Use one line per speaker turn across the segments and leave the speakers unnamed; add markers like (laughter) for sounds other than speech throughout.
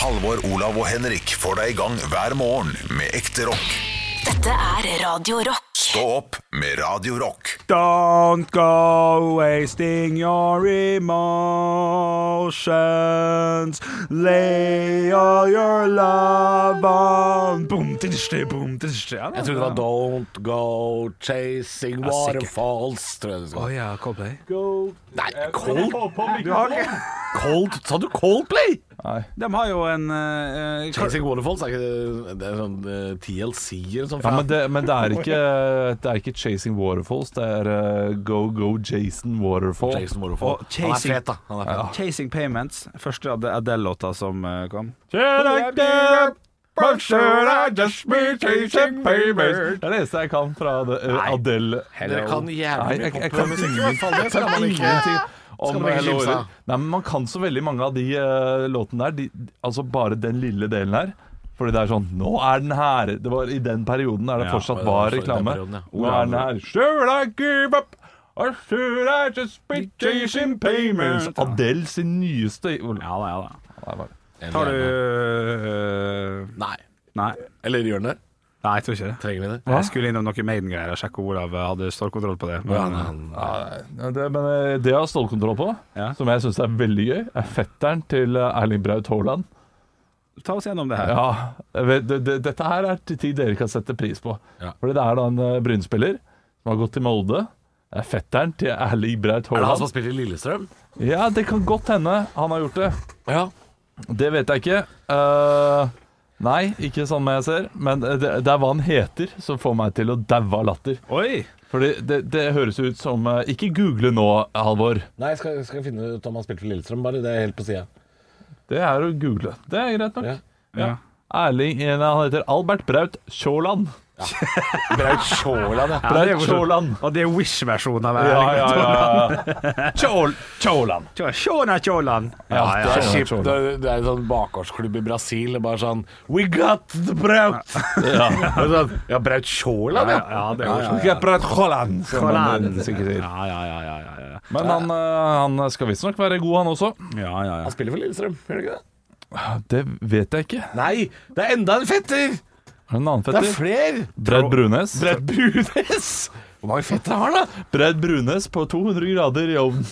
Halvor, Olav og Henrik får deg i gang hver morgen med ekte rock.
Dette er Radio Rock.
Stå opp med Radio Rock.
Don't go wasting your emotions. Lay all your love on Boom, tidsje, boom, tidsje. Ja,
Jeg trodde det var Don't go chasing waterfalls. Tror jeg det skulle.
ja, Coldplay.
Nei, cold, cold Sa du Coldplay?
De har jo en eh, eh,
Chasing waterfalls er ikke det, det er sånn eh, TLC eller sånn.
Ja, men det, men det, er ikke, det er ikke 'Chasing Waterfalls', det er eh, 'Go Go Jason Waterfall'.
Chasing waterfall.
Og chasing-
Han er fet, da. Han er fet.
Chasing Payments, første Ad- Adele-låta som eh, kom.
Det er det eneste jeg kan fra det, eh,
Nei.
Adele.
Dere kan
Nei,
jævlig mye
jeg, jeg kan
popmusikk, i hvert fall. Det skal man ikke
ingenting om
man ikke kimse
Hello World.
av.
Nei, men Man kan så veldig mange av de eh, låtene der, de, altså bare den lille delen her. Fordi det er sånn Nå er den her! Det var i den perioden der det
Ja,
fortsatt
det var
var
for- i den
reklame.
perioden, ja.
Nå er den her. Should I give up? Or should I just be chasing payments? Adele sin nyeste
Ja da, ja da.
Nei, bare-
Tar du eh,
Nei.
Nei.
Eller gjør den det?
Nei, jeg tror ikke det.
Trenger vi det?
Jeg skulle innom noen Maiden-greier og sjekke om Olav hadde stålkontroll på det.
Ja,
Men,
nei, nei.
Ja, det, men eh, det jeg har stålkontroll på,
Ja.
som jeg syns er veldig gøy, er fetteren til eh, Erling Braut Haaland.
eh, ta oss gjennom det her.
Ja, jeg vet- det, det, dette her er til ting dere kan sette pris på.
Ja.
Fordi det er da en eh, Bryn-spiller som har gått til Molde. Det er fetteren til Erling Braut
Er det han som
Haaland.
har spilt i Lillestrøm?
Ja, det kan godt hende han har gjort det.
Ja.
Det vet jeg ikke. Eh, nei, ikke sånn jeg ser. Men det, det er hva han heter som får meg til å daue av latter.
Oi!
Fordi det, det høres ut som eh, Ikke google nå, Halvor.
Nei, jeg skal, jeg skal finne ut om han spilte for Lillestrøm, bare. Det er helt på sida.
Det er å google. Det er greit nok.
Ja.
Ja.
Erling, eh, Han heter Albert Braut Sjåland.
Braut Sjåland,
det
ja.
er
Braut
jo-
Sjåland.
Og det er Wish-versjonen av Erling.
Ja, ja,
(laughs)
ja. Tjål, tjålan.
Sjåna Tjåland!
Ja,
Det er
Sjålan,
kjipt.
Sjålan.
Det er- det er en sånn bakgårdsklubb i Brasil. det er Bare sånn We got the Braut! (laughs) Ja, sånn, ja Braut Sjåland, ja.
Ja, det er jo
Ikke Braut Haaland, som
Haaland.
man sikkert sier.
Ja, ja, ja, ja, ja, ja.
Men han, eh, han skal visstnok være god, han også.
ja, ja, ja.
Han spiller for Lillestrøm, gjør han ikke det?
Det vet jeg ikke.
Nei, det er enda en fetter!
Har du en annen
Det er
fetter?
flere!
Braut Brunes.
Braut
(laughs)
Brunes! Hvor mange fettere har han, da?
Braut Brunes på 200 grader i ovnen.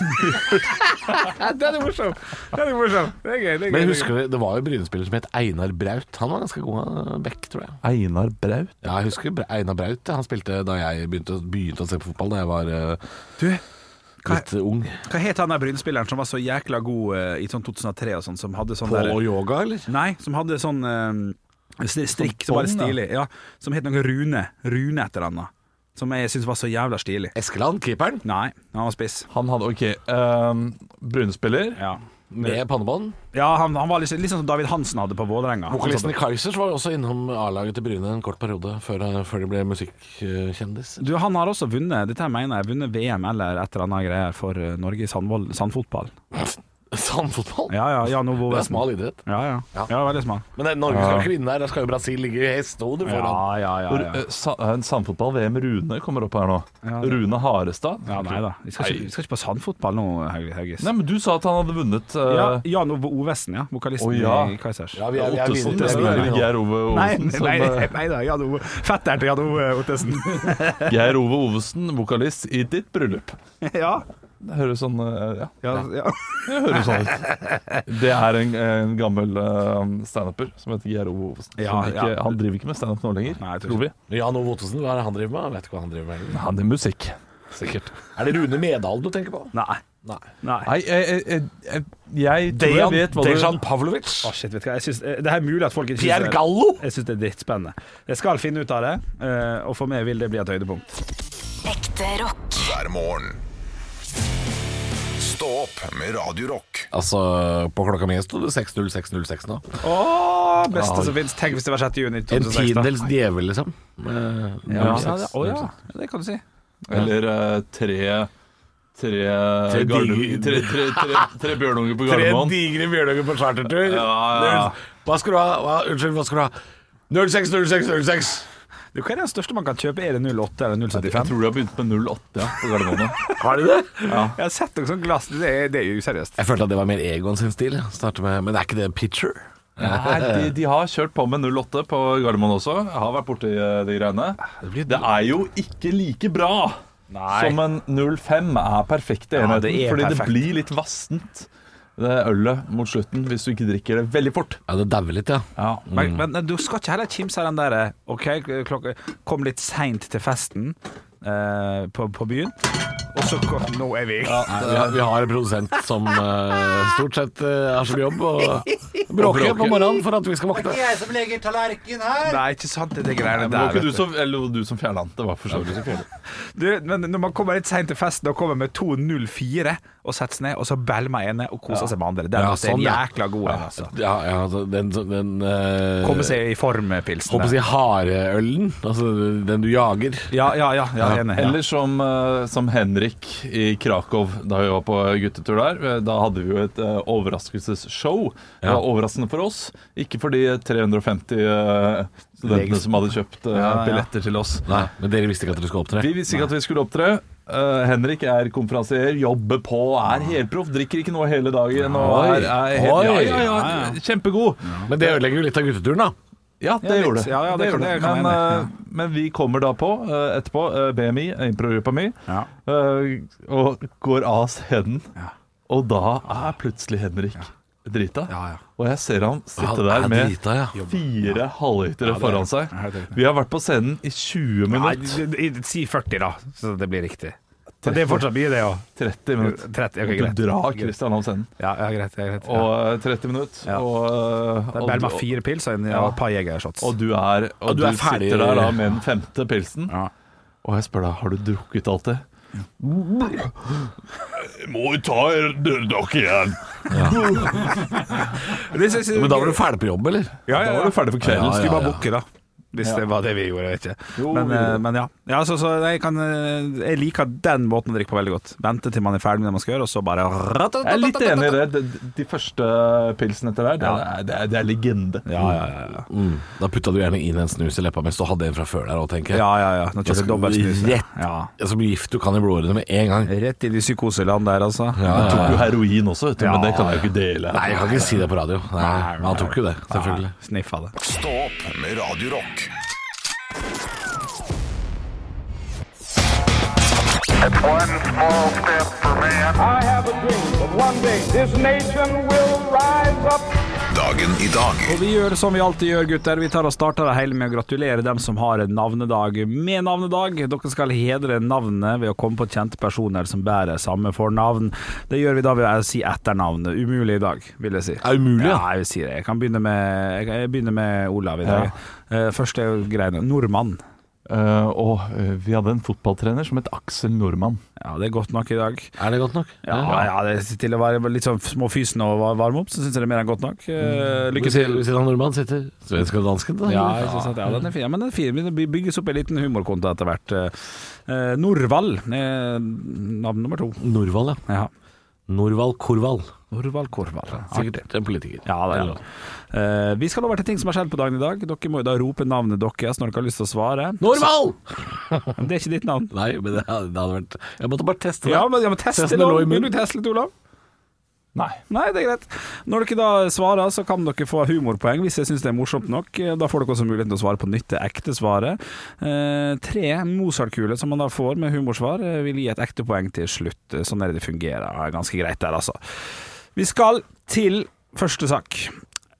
Den er morsom! Den er morsom. Det er gøy. det er gøy,
Men
det er
husker du, Det var jo Bryne-spiller som het Einar Braut. Han var ganske god eh, back, tror jeg.
Einar Braut.
Ja, jeg husker Bra- Einar Braut. ja. Han spilte da jeg begynte, å- begynte å se på fotball, da jeg var eh,
Du,
litt ung.
gøy. Hva het han der Bryn-spilleren som var så jækla god eh, i sånn 2003 og sånn, som hadde sånn
Pål
der
og yoga, eller?
Nei, som hadde sånn eh, st- strikk som bare
bånd, da.
stilig. Ja, som het noe Rune. Rune et eller annet. Som jeg syns var så jævla stilig.
Eskeland, keeperen,
Nei, han var spiss.
Han hadde OK. Um, Brune-spiller.
Ja,
med pannebånd.
ja han, han var litt, litt sånn som David Hansen hadde på Vålerenga. Han
Vokalisten
satt-
i Kaizers var også innom A-laget til Bryne en kort periode, før, eh, før de ble musikkjendis. (laughs)
Altså, Du, han har også vunnet dette her mener jeg, vunnet VM eller et eller annet greier for eh, Norge i sandvoll- sandfotball.
Sandfotball?
Ja, ja, Jan Ovo
Det er
Wesen.
smal idrett.
Ja, ja. ja.
Ja.
veldig smal.
Men det, Norge skal ikke vinne her, da skal jo Brasil ligge i hestehodet
Ja,
foran.
ja, ja.
Hvor,
ja.
eh, sa- en Samfotball-VM Rune kommer opp her nå.
Ja, det-
Rune Harestad.
ja nei da. Vi skal, ikke, vi skal ikke på sandfotball nå, Haug- Haugis.
Nei, men du sa at han hadde vunnet eh,
Ja, Jan Ove Ovesen, ja. Vokalisten
Å, ja.
i Kaizers.
Ja, vi er, vi er
Ottesen
vinner.
til
Vi er
spiller
vinner.
Geir Ove
(laughs) Nei,
Ovesen
nei,
som, eh,
nei, nei da, Jan Ove. Fetteren til Jan Ove Ottesen. (laughs)
Geir Ove Ovesen, vokalist i ditt bryllup.
ja.
Det høres sånn eh, Ja,
Ja, ja.
det høres sånn ut. (laughs) Det er en, en gammel eh, standuper som heter Geir Ove Ovesen.
Ja,
som ikke,
ja.
Han driver ikke med standup nå lenger,
Nei, jeg tror
tror vi.
Jan Ove Ottesen, hva er det han driver med? Jeg vet ikke hva han driver med. heller.
Han er musikk.
Sikkert. Er det Rune Medal du tenker på?
Nei.
Nei.
Nei.
Nei, jeg, jeg, jeg, jeg tror jeg vet hva
Dejan
du
Pavlovic.
Å, shit, vet du hva. Jeg synes, eh, det her er mulig at folk ikke synes
Pierre
det.
Gallo.
Jeg syns det er drittspennende. Jeg skal finne ut av det, eh, og for meg vil det bli et høydepunkt.
Ekte rock.
Hver morgen. Stå opp med Radio Rock.
Altså, på klokka mi sto det 6-0-6-0-6 nå.
Å, beste som fins. Tenk hvis det var 6. juni
En
2006. da.
tiendels djevel, liksom.
Ja, ja, det- å ja, det kan du si.
Eller eh, tre Tre
Tre
Gardermo-
digre-
tre- tre- tre- tre bjørnunger på Gardermoen.
digre bjørnunger på chartertur.
ja.
Hva skal du ha? Hva, unnskyld, hva skal du ha? 06-06-06.
Du, hva er den største man kan kjøpe? Er det 08 eller
Jeg
075?
tror de har begynt med 08 ja, på Gardermoen. ja.
Har de det?
Jeg har sett noe sånt glass, det er, det er jo useriøst.
Jeg følte at det var mer Egon sin stil. å Starte med, men det er ikke det Pitcher?
Nei, de, de har kjørt på med 08 på Gardermoen også. Jeg har vært borti eh, de greiene.
Ah,
Det, er jo ikke like bra som en 05 er perfekt i
Ja,
enheten.
det er
fordi
perfekt.
det blir litt vassent, det ølet mot slutten, hvis du ikke drikker det veldig fort.
Ja, det dauer litt, ja.
Ja. mm.
Men, men du skal ikke heller kimse av den der OK, klokka Kom litt seint til festen eh, på, på byen, og så kom, Nå er vi
Nei, vi, har, vi har en produsent (laughs) som eh, stort sett eh, har som jobb å (laughs) bråke på morgenen for at vi skal våkne.
Jeg som legger tallerken her.
Nei, ikke sant, det er de
Nei,
greiene
men det
der.
var ikke
vet
du som, eller du som fjerna den. Det var for så vidt.
Du, men når man kommer litt seint til festen og kommer med 2.04 og setter seg ned, og så beller man ene og koser seg med andre. Den
Ja,
ja,
sånn,
er
ja.
jækla god. den, Altså.
Ja, ja, altså, den, den eh,
Komme seg i form-pilsen.
Håper å si hareølen, altså den du jager.
Ja, ja, ja. ja, jeg er enig.
Eller som, eh, som Henrik i Krakow da vi var på guttetur der. eh, Da hadde vi jo et eh, overraskelsesshow. Det var overraskende for oss. Ikke for de 350 eh, studentene som hadde kjøpt eh, billetter til oss.
Nei, men dere visste ikke at dere skulle opptre.
Vi visste ikke at vi skulle opptre. Eh, Henrik er konferansier, jobber på, er helproff, drikker ikke noe hele dagen. Og
Oi.
er, er helt, ja,
Oi.
ja, ja, kjempegod!
Men det ødelegger jo litt av gutteturen, da.
Ja, det
Ja, litt.
gjorde det.
Ja, ja, det kan-
gjorde
det kan
men,
jeg
eh, men vi kommer da på eh, etterpå, eh, BMI, improgruppa mi,
Ja.
eh, og går av scenen. Og da er plutselig Henrik drita.
Ja, ja.
Og jeg ser han sitte
Han
der
er
med
drita, ja.
fire halvlitere foran seg.
Ja, det er-
Vi har vært på scenen i 20
Nei,
minutter.
i- i- si 40, da, så det blir riktig. Men det er fortsatt mye, det òg.
30 minutter.
30, ok,
Du
greit.
drar Christian av scenen.
Ja, ja, greit. Ja, greit.
Og
ja.
eh, 30 minutter.
Ja.
Og, eh,
Det er
og-
bare med fire pils og en ja,
Ja.
et par jegershots.
og du er, og
Og du
du
er ferdig.
sitter der da med den femte pilsen.
Ja.
Og jeg spør deg, har du drukket alt det? Må jo ta dørdak igjen.
Det synes jeg-
Men da var du ferdig på jobb, eller?
ja, ja, ja.
Da var du ferdig for
Ja,
kvelden.
ja,
Skulle bare
ja.
bukke, da. Hvis det var det vi gjorde, jeg vet ikke.
Jo,
men,
vi gjorde
eh,
det.
men ja. ja så, så jeg, kan, eh, jeg liker den måten å drikke på veldig godt. Vente til man er ferdig med det man skal gjøre, og så bare
Jeg er litt enig i det. De, de første pilsene etter der, det er, det er, det er legende.
Ja, ja, ja. ja.
Mm. Da putta du gjerne inn en snus i leppa mens du hadde en fra før der òg, tenker jeg.
ja, ja, ja. Nå kjører jeg dobbelt snus.
Rett.
Ja.
Jeg som blir gift, du kan i blodårene med en gang.
Rett inn i psykoseland der, altså.
Jeg tok jo heroin også, vet du, men det kan jeg jo ikke dele.
Nei, jeg kan ikke si det på radio. Nei, men han tok jo det, selvfølgelig.
Ja, Sniffa det.
Stå opp med Radio Rock.
One small step for man. I have a dream that one day this nation will rise up.
Dagen i dag
Og vi gjør som vi alltid gjør, gutter. Vi tar og starter det hele med å gratulere dem som har en navnedag med navnedag. Dere skal hedre navnet ved å komme på kjente personer som bærer samme fornavn. Det gjør vi da ved å si etternavnet. Umulig i dag, vil jeg si.
Er umulig,
ja?
ja?
jeg vil si det. Jeg kan begynne med, jeg kan- jeg begynner med Olav i dag. Eh, Første greiene. Nordmann.
Eh, og eh, vi hadde en fotballtrener som het Aksel Nordmann.
Ja, det er godt nok i dag.
Er det godt nok?
Ja, ja, det til å være litt sånn småfysen og var- varme opp, så syns jeg det er mer enn godt nok. Eh, Lykke
Lykke
til.
til. Ved siden av nordmannen sitter svensk og dansken. Da.
Ja, jeg synes at, ja, den er fin. Ja, men den er fin. Det bygges opp en liten humorkonto etter hvert. Eh, Norvald er navn nummer to.
Norvald, ja.
Ja.
Norvald Korvald.
Norvald Korvald. Artig.
Sikkert en politiker.
Ja, det er det. Eh, vi skal over til ting som har skjedd på dagen i dag. Dere må jo da rope navnet deres når dere har lyst til å svare.
Norvald!
Men det er ikke ditt navn.
Nei, men det hadde, det hadde vært Jeg måtte bare teste det.
Ja, men, ja, men test
Testen
det,
lå
Olav.
i
Vil
munnen.
du teste litt, Olav?
Nei.
Nei, det er greit. Når dere da svarer, så kan dere få humorpoeng hvis jeg syns det er morsomt nok. eh, Da får dere også muligheten til å svare på nytt, det ekte svaret. Eh, tre Mozart-kuler som man da får med humorsvar, eh, vil gi et ekte poeng til slutt. Eh, Sånn er det det fungerer. Ja, Ganske greit der, altså. Vi skal til første sak.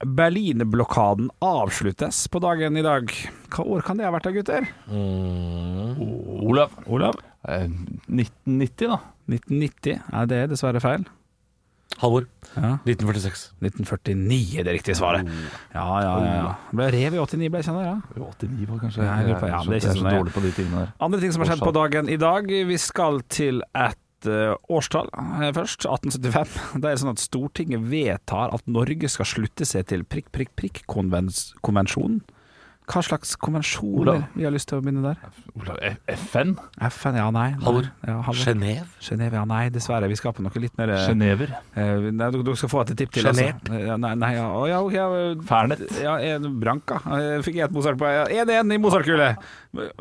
Berlinblokaden avsluttes på dagen i dag. Hva år kan det ha vært da, gutter?
Olav.
Olav?
Eh, 1990, da.
1990? Nei, det er dessverre feil.
Halvor.
Ja.
1946.
1949 er det riktige svaret.
Oh.
Ja, ja, ja. ja. Ble rev i 89, ble jeg kjent, ja.
89 var kanskje
Nei, det er- ja, men det er ikke
Jeg er så
sånn, ja.
dårlig på de tingene der.
Andre ting som har skjedd på
Årstall.
dagen i dag. Vi skal til et eh, årstall eh, først. 1875. (laughs) Det er sånn at Stortinget vedtar at Norge skal slutte seg til prikk, prikk, prikk-konvensjonen. Hva slags konvensjoner
Olav.
vi har lyst til å begynne der?
Olav, eh, F- FN?
FN, ja, nei. nei.
Halvor.
Ja, Halvor.
Genéve.
Genève, ja, nei, dessverre. Vi skal på noe litt mer eh,
Genever?
eh, nei, Dere dere skal få et tipp til.
Genert.
Altså. Ja, Nei, nei, ja, å, ja, ok, ja,
Fernet?
ja, en Branca. Eh, Fikk jeg et Mozart på 1-1 i Mozart-kule!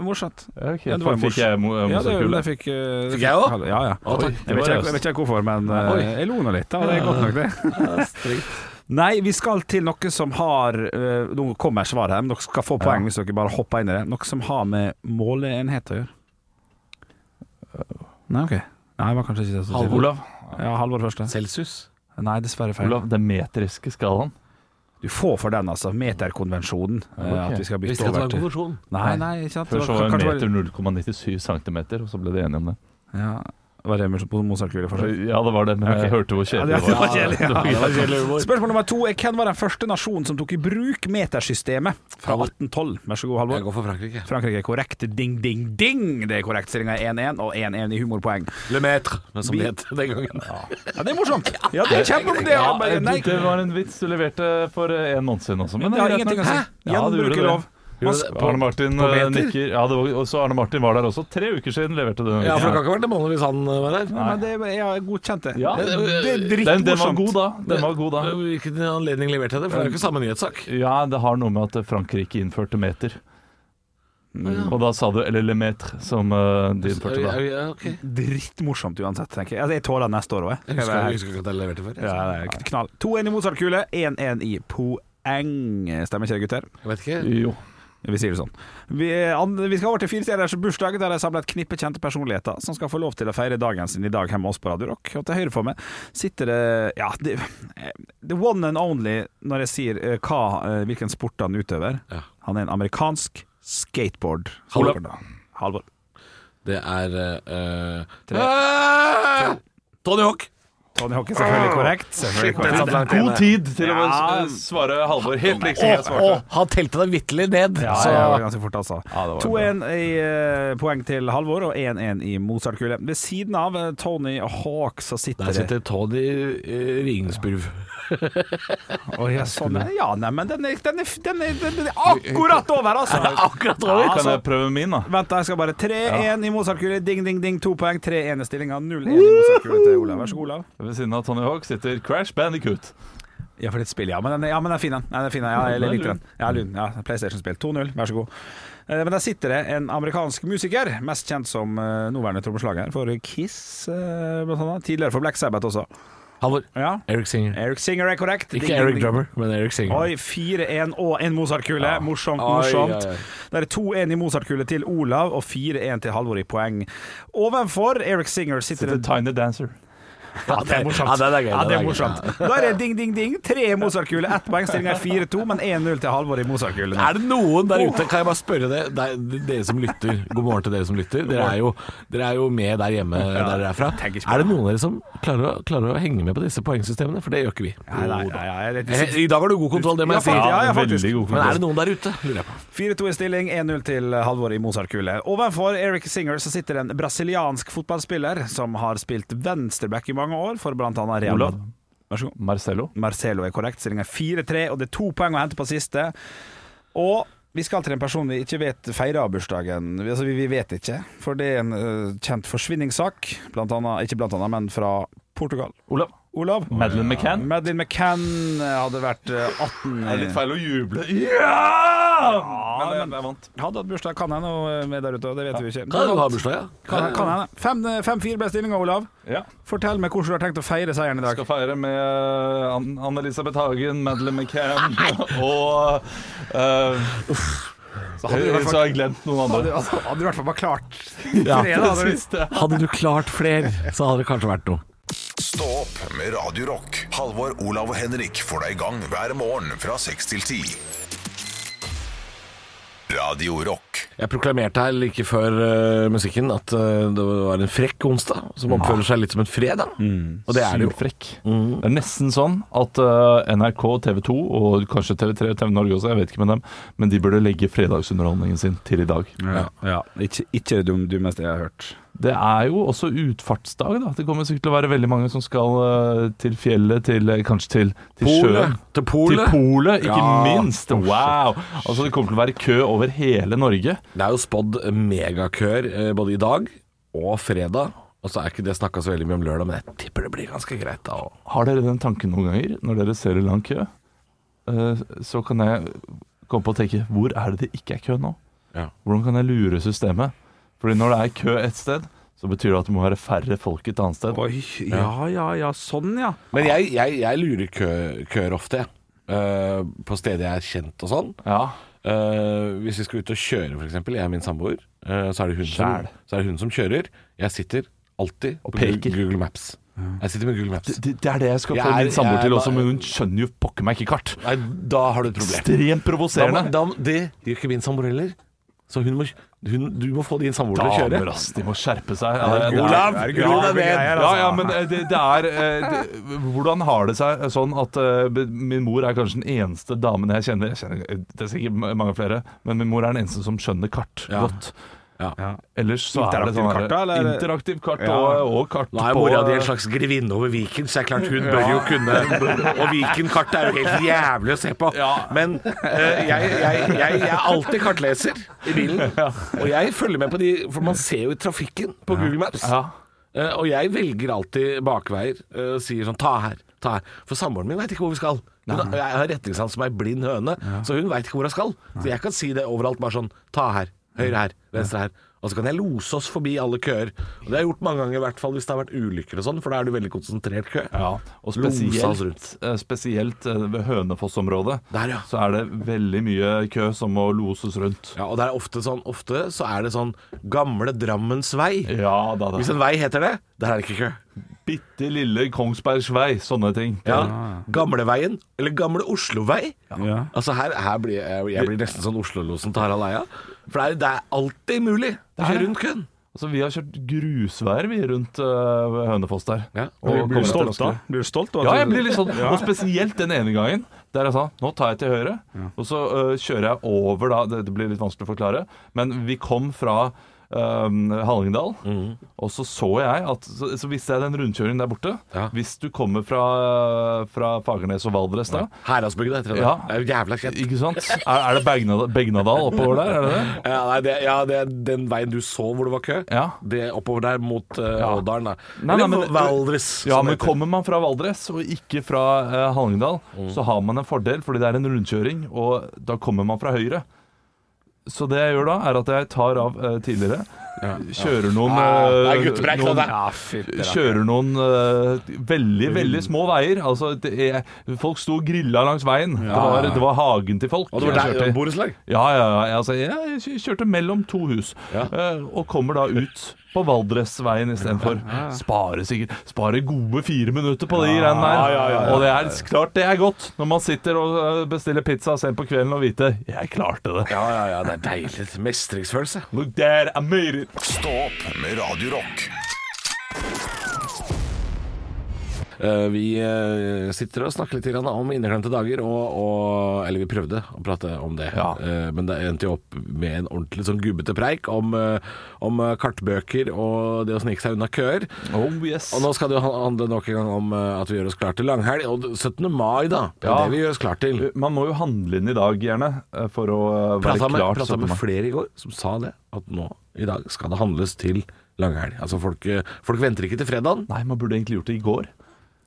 Morsomt.
Okay,
Ja, det var jo
fikk
mors-
jeg mo-
Ja, det,
motorkule.
det fikk eh,
Fikk jeg også?
Ja, ja.
Å, takk.
Jeg vet, ikke, jeg vet ikke hvorfor, men eh,
Oi.
(laughs) jeg lo nå litt. Da. Det er godt nok, det. Nei, vi skal til noe som har eh, Nå kommer svar her, men dere skal få poeng hvis dere bare hopper inn i det. Noe som har med måleenhet å gjøre. Nei, OK. Nei, det var kanskje ikke det som
Olav,
Ja, Halvor først. ja.
Celsius.
Nei, dessverre feil.
Olav, den metriske skalaen.
Du får for den, altså. Meterkonvensjonen. eh, At vi skal bytte
Visste ikke at
over
det var en
til
konvensjon.
Nei, nei, ikke sant.
Før
Det
så
var
var en
kanskje
meter 0,97 cm, og så ble de enige om det.
bare- Ja. Var det på Mozart-kule fortsatt?
Ja, det var det, men jeg hørte hvor kjedelig
Ja,
det
det
var.
var kjedelig, ja.
Det var kjedelig humor.
Spørsmål nummer to er hvem var den første nasjonen som tok i bruk metersystemet fra 1812? Vær så god,
Jeg
Halvor.
går for Frankrike.
Frankrike er korrekt. Ding, ding, ding! Det er korrekt. Stillinga er 1-1, og 1-1 i humorpoeng.
Le Maître, men som
Vi-
det het den gangen.
Ja, det er morsomt! Ja, det er kjempebra! Det,
Ja,
er- nei,
det var en vits du leverte for eh, en måned siden også. Men
det har ingenting å si.
Ja, du gjorde det.
Gjenbrukerlov. Man
Gjorde det
skal-
på-
Arne Martin
på
eh,
meter?
nikker. Ja, det var, også Arne Martin var der også. Tre uker siden leverte du den.
Ja, for det kan
vitsen.
ikke ha vært en måned hvis han eh, var der.
Nei, men det er, jeg har godkjent det.
Ja.
Det, det er
den, den var
drittmorsomt.
god da. Den var god da.
Eh, Hvilken anledning leverte jeg det? For det er jo ikke samme nyhetssak.
Ja, det har noe med at Frankrike innførte meter. Og da sa du 'eller le metre', som eh, de innførte da.
Ja, ok.
Drittmorsomt uansett, tenker jeg. Altså, jeg tåler det neste år òg,
Jeg
jeg.
husker, jeg husker ikke at jeg leverte før.
Ja, det er knall. 2-1 i Mozart-kule, 1-1 i poeng. Stemmer ikke det, gutter?
Jeg vet ikke.
Jo.
Vi sier det sånn. Vi, an, vi skal over til firestjerners bursdag, der jeg samler et knippe kjente personligheter som skal få lov til å feire dagen sin i dag hjemme hos oss på Radio Rock. Og til høyre for meg sitter det ja, det, the one and only når jeg sier eh, hva, eh, hvilken sport han utøver.
Ja.
Han er en amerikansk skateboard.
Olav.
Halvor.
Det er eh, eh, Tony Hawk.
Tony Hawk er selvfølgelig korrekt. Selvfølgelig korrekt.
God tid til å
Ja.
eh, svare Halvor. Helt
Å,
liksom jeg
å,
svarte.
han telte deg vitterlig ned.
Ja,
så
ja, det var ganske fort, altså.
var
2-1 i eh, poeng til Halvor og 1-1 i Mozart-kule. Ved siden av eh, Tony Hawk så sitter
der
det
sitter Tony eh, Ringsburv.
Å, ja, sånn. Ja, nei, men den er, den, er, den, er, den er akkurat over, altså!
Akkurat
over.
Kan
altså.
jeg prøve min, da?
Vent, da, jeg skal bare 3-1 i Mozart-kule. Ding, ding, ding. To poeng. 3-1 i stillinga. 0-1 i Mozart-kule til Olav. Vær så god, Olav.
Ved siden av Tony Hawk sitter Crash Bandicoot.
Ja, for det er et spill, ja. Men den, ja, men den er fin, den. Ja, den er fin, den. ja, jeg likte den. Ja, lun. Ja, PlayStation-spill. 2-0, vær så god. Eh, Men der sitter det en amerikansk musiker, mest kjent som eh, nåværende trommeslager for Kiss, eh, blant annet. Tidligere for Black Sabbath også.
Halvor.
Ja.
Eric Singer.
Eric Singer er korrekt. Ding,
Ikke
ding,
Eric
ding.
Drummer, men Eric Singer.
Oi, 4-1 og en Mozart-kule. Morsomt,
Oi,
morsomt.
oi, oi.
Det er 2-1 i Mozart-kule til Olav og 4-1 til Halvor i poeng. Ovenfor Eric Singer sitter
Sitter
en
Tiny Dancer.
Ja, det er morsomt. Ja, det er gøy.
ja, det er
gøy.
morsomt. Da er det ding, ding, ding. Tre i Mozart-kule, ett poeng. Stillinga er 4-2, men 1-0 til Halvor i Mozart-kule. nå.
Er det noen der ute, kan jeg bare spørre det, det er dere som lytter, god morgen til dere som lytter, dere er jo, dere er jo med der hjemme der dere er fra.
tenker ikke på
Er det noen av dere som klarer å, klarer å henge med på disse poengsystemene? For det gjør ikke vi.
Nei, nei, nei, nei. det-
Eh, I dag har du god kontroll, det må jeg si.
Ja, ja, ja, faktisk.
veldig god
Men er
kontroll.
det noen der ute, lurer jeg på.
4-2 i stilling, 1-0 til Halvor i Mozart-kule. Ovenfor Eric Singer så sitter en brasiliansk fotballspiller som har spilt venstreback i mange år, for bl.a. Real
Olav.
Madrid. Vær så god.
Marcello.
Marcelo er korrekt. Stillinga er 4-3, og det er to poeng å hente på siste. Og vi skal til en person vi ikke vet feirer bursdagen. Vi- Altså, vi, vi vet ikke, for det er en eh, kjent forsvinningssak, blant annet, ikke blant annet, men fra Portugal.
Olav.
Olav?
Madeleine McCann.
Madeleine McCann hadde vært eh, 18
Det er litt
i-
feil å juble. Ja! Men jeg, jeg vant.
Hadde hatt bursdag, kan hende, og eh, med der ute, og det vet vi jo ikke.
Kan du ha bursdag, ja?
Kan, kan hende. Fem- 5-4 ble stillinga, Olav.
Ja.
Fortell meg hvordan du har tenkt å feire seieren i dag.
skal feire med An- Anne-Elisabeth Hagen, Madeleine (laughs) McCann og eh, så,
det vært-
så har jeg glemt noen andre.
Hadde, altså, hadde du i hvert fall bare klart
Ja.
(laughs)
Tre, da, hadde du-
Hadde du klart fler, så hadde det kanskje vært noe.
Stå opp med Radio Rock. Halvor, Olav og Henrik får deg i gang hver morgen fra 6 til 10. Radio Rock.
Jeg proklamerte her like før eh, musikken at eh, det var en frekk onsdag, som oppfører seg litt som en fredag. Og det er det jo. Mm.
Frekk. Det er nesten sånn at eh, NRK, TV 2 og kanskje TV3 TV Norge også, jeg vet ikke med dem, men de burde legge fredagsunderholdningen sin til i dag.
Ja, Ikke, ikke det dum- dummeste jeg har hørt.
Det er jo også utfartsdag, da. Det kommer sikkert til å være veldig mange som skal eh, til fjellet, til eh, kanskje til, til sjøen.
Polet. Til
Til
polet.
polet, ikke
Ja.
minst! Wow! Altså, det kommer til å være kø over hele Norge.
Det er jo spådd megakør eh, både i dag og fredag. Og så er ikke det snakka så veldig mye om lørdag, men jeg tipper det blir ganske greit da. og-
Har dere den tanken noen ganger, når dere ser en lang kø, eh, så kan jeg komme på å tenke hvor er det det ikke er kø nå?
Ja.
Hvordan kan jeg lure systemet? Fordi når det er kø et sted, så betyr det at det må være færre folk et annet sted.
Oi, ja, ja, ja, sånn ja.
Men jeg, jeg, jeg lurer kø, køer ofte, jeg. Eh, på steder jeg er kjent og sånn.
Ja.
Eh, hvis vi skal ut og kjøre, f.eks., jeg og min samboer, eh, så, er det hun som,
Sjæl.
så er det hun som kjører. Jeg sitter alltid og på
peker.
Gu- Google Maps. Jeg sitter med Google Maps.
Det, det er det jeg skal
Jeg
få
er-
min samboer
jeg er
til
da-
også, men hun skjønner jo pokker meg ikke kart.
Nei, da har du et problem.
Ekstremt
Da må,
provoserende.
da, det gjør ikke min samboer heller. Så hun må, hun, du må få din samboer til å kjøre.
Damer, altså. ass, de må skjerpe seg.
det er- Olav, det er grave ro deg ned. greier,
Ja, ja, men eh, det, det er eh, det, Hvordan har det seg sånn at eh, be- min mor er kanskje den eneste damen jeg kjenner, jeg kjenner Det er sikkert ma- mange flere, men min mor er den eneste som skjønner kart
Ja.
godt.
Ja.
Ellers så er det
Interaktiv
sånn
kart, da,
her-
eller?
interaktiv kart
Ja.
og, og kart
Nå er
på
mora di en slags grevinne over Viken, så det er klart hun bør jo kunne Og Viken-kartet er jo helt jævlig å se på.
Ja.
Men eh, jeg, jeg, jeg, jeg er alltid kartleser i bilen. Og jeg følger med på de For man ser jo i trafikken på Google Maps.
ja.
Eh, og jeg velger alltid bakveier. eh, sier sånn ta her, ta her. For samboeren min veit ikke hvor vi skal. Hun, jeg har retningssans som ei blind høne, så hun veit ikke hvor hun skal. Så jeg kan si det overalt, bare sånn ta her, høyre her, venstre her. Og så kan jeg lose oss forbi alle køer. Og det har jeg gjort mange ganger, i hvert fall hvis det har vært ulykker og sånn, for da er det veldig konsentrert kø.
Ja, og
Losa oss rundt.
spesielt, eh, spesielt eh, ved Hønefoss-området
Der, ja.
så er det veldig mye kø som må loses rundt.
Ja, og det er ofte sånn Ofte så er det sånn gamle Drammens vei.
Ja da, da.
Hvis en vei heter det, der er det ikke kø.
Bitte lille Kongsbergsvei, sånne ting.
Ja. Gamleveien, eller Gamle Oslovei.
Ja.
Altså her, her blir jeg, jeg blir nesten sånn Oslo-losen til Harald Eia. For det er, det er alltid mulig å
er
kjøre
det.
rundt køen.
Altså, vi har kjørt grusveier vi rundt øh, ved Hønefoss der.
Ja.
Og
Blir du
kommer
stolt
til
da?
Asker.
Blir du stolt? av at
Ja, jeg
du-
blir litt sånn. Og spesielt den ene gangen der jeg sa nå tar jeg til høyre. Og så øh, kjører jeg over, da. Det, det blir litt vanskelig å forklare. Men vi kom fra øhm, Hallingdal,
Mm.
og så så jeg at Så, så visste jeg den rundkjøringen der borte.
Ja.
Hvis du kommer fra, fra Fagernes og Valdres da,
Heradsbygda heter det.
Ja.
Det er jo jævla kjent.
ikke sant? Er, er det Begna- Begnadal oppover der? Er det det?
Ja, nei, det, ja, det er den veien du så hvor det var kø.
Ja.
Det oppover der mot eh,
Ja.
Ådalen, da.
Nei, nei,
Eller
men- eh,
Valdres.
Ja,
som
men
heter.
kommer man fra Valdres og ikke fra eh, Hallingdal,
Mm.
så har man en fordel, fordi det er en rundkjøring, og da kommer man fra høyre. Så det jeg gjør da, er at jeg tar av eh, tidligere, kjører noen,
Ah,
eh,
det er guttepreik,
noen
da, det.
Kjører noen eh, veldig, veldig små veier. Altså, det er, folk sto og grilla langs veien. Det, var, det var hagen til folk.
Og det var der,
jeg kjørte i.
borettslag?
Ja, ja, ja. Altså, jeg kj- kjørte mellom to hus,
Ja.
eh, og kommer da ut på Valdresveien istedenfor. Sparer sikkert Sparer gode fire minutter på de greiene der. Og det er s- klart det er godt når man sitter og eh, bestiller pizza sent på kvelden og vite 'jeg klarte det'.
Ja, ja, ja. Det er deilig. Mestringsfølelse.
Look there, I made it.
Stå opp med Radio Rock.
Eh, vi eh, sitter og snakker litt grann om inneklemte dager, og, og Eller vi prøvde å prate om det,
Ja.
Eh, men det endte jo opp med en ordentlig sånn gubbete preik om, eh, om eh, kartbøker og det å snike seg unna køer.
Oh yes.
Og nå skal det jo handle nok en gang om eh, at vi gjør oss klar til langhelg. Og 17. mai, da. Det er
Ja.
det vi gjør oss klar til.
Man må jo handle inn i dag, gjerne, eh, for å eh, være
Prata med,
klar.
pratet
sånn at
med
man-
flere i går som sa det, at nå i dag skal det handles til langhelg. Altså folk, eh, folk venter ikke til fredagen.
Nei, man burde egentlig gjort det i går.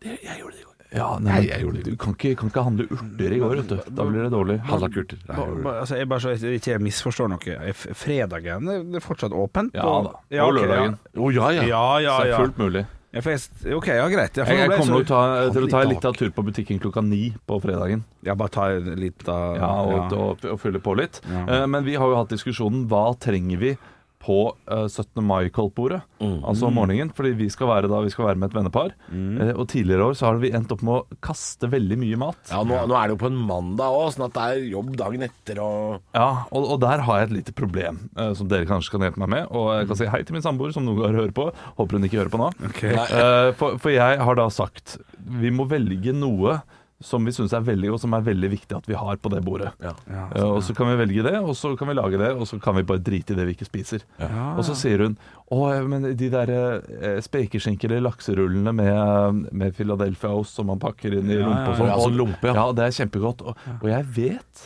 Jeg gjorde det i går.
Ja,
Nei,
nei,
jeg gjorde det.
men Du kan ikke, kan ikke handle urter i går, vet du. Da blir det dårlig.
Handla kurter. Nei, jeg
Ba-
gjorde det.
ba- Altså, jeg bare så jeg ikke jeg misforstår noe. Er f- Fredagen det det er fortsatt åpent?
Ja
og-
da.
Ja,
Og
ok,
lørdagen.
Å
Ja,
ja, ja.
ja, ja.
Så det
ja.
er fullt mulig.
Ja, for jeg, s- ok, ja, greit. Ja, for
Jeg,
nå ble
jeg kommer
så-
nok til å ta- til å ta en liten tur på butikken klokka ni på fredagen.
Ja, bare ta en liten
Ja, og, og, og fylle på litt.
Ja.
Eh, Men vi har jo hatt diskusjonen hva trenger vi på eh, 17. mai-koldtbordet, altså om morgenen. Fordi vi skal være da, vi skal være med et vennepar. Eh, Og tidligere år så har vi endt opp med å kaste veldig mye mat.
Ja, nå, nå er det jo på en mandag òg, sånn at det er jobb dagen etter og
Ja, og, og der har jeg et lite problem eh, som dere kanskje kan hjelpe meg med. Og jeg kan si hei til min samboer som noen ganger hører på. Håper hun ikke hører på nå. Eh, for, for jeg har da sagt vi må velge noe som vi syns er veldig og som er veldig viktig at vi har på det bordet.
Ja.
Eh, og så kan vi velge det, og så kan vi lage det, og så kan vi bare drite i det vi ikke spiser. Og så sier hun å, men de der eh, spekeskinker eller lakserullene med, med Philadelphia-ost som man pakker inn i rumpa og sånn.
Ja, sånn
Og-
lumpe, ja.
det er kjempegodt. Og, og jeg vet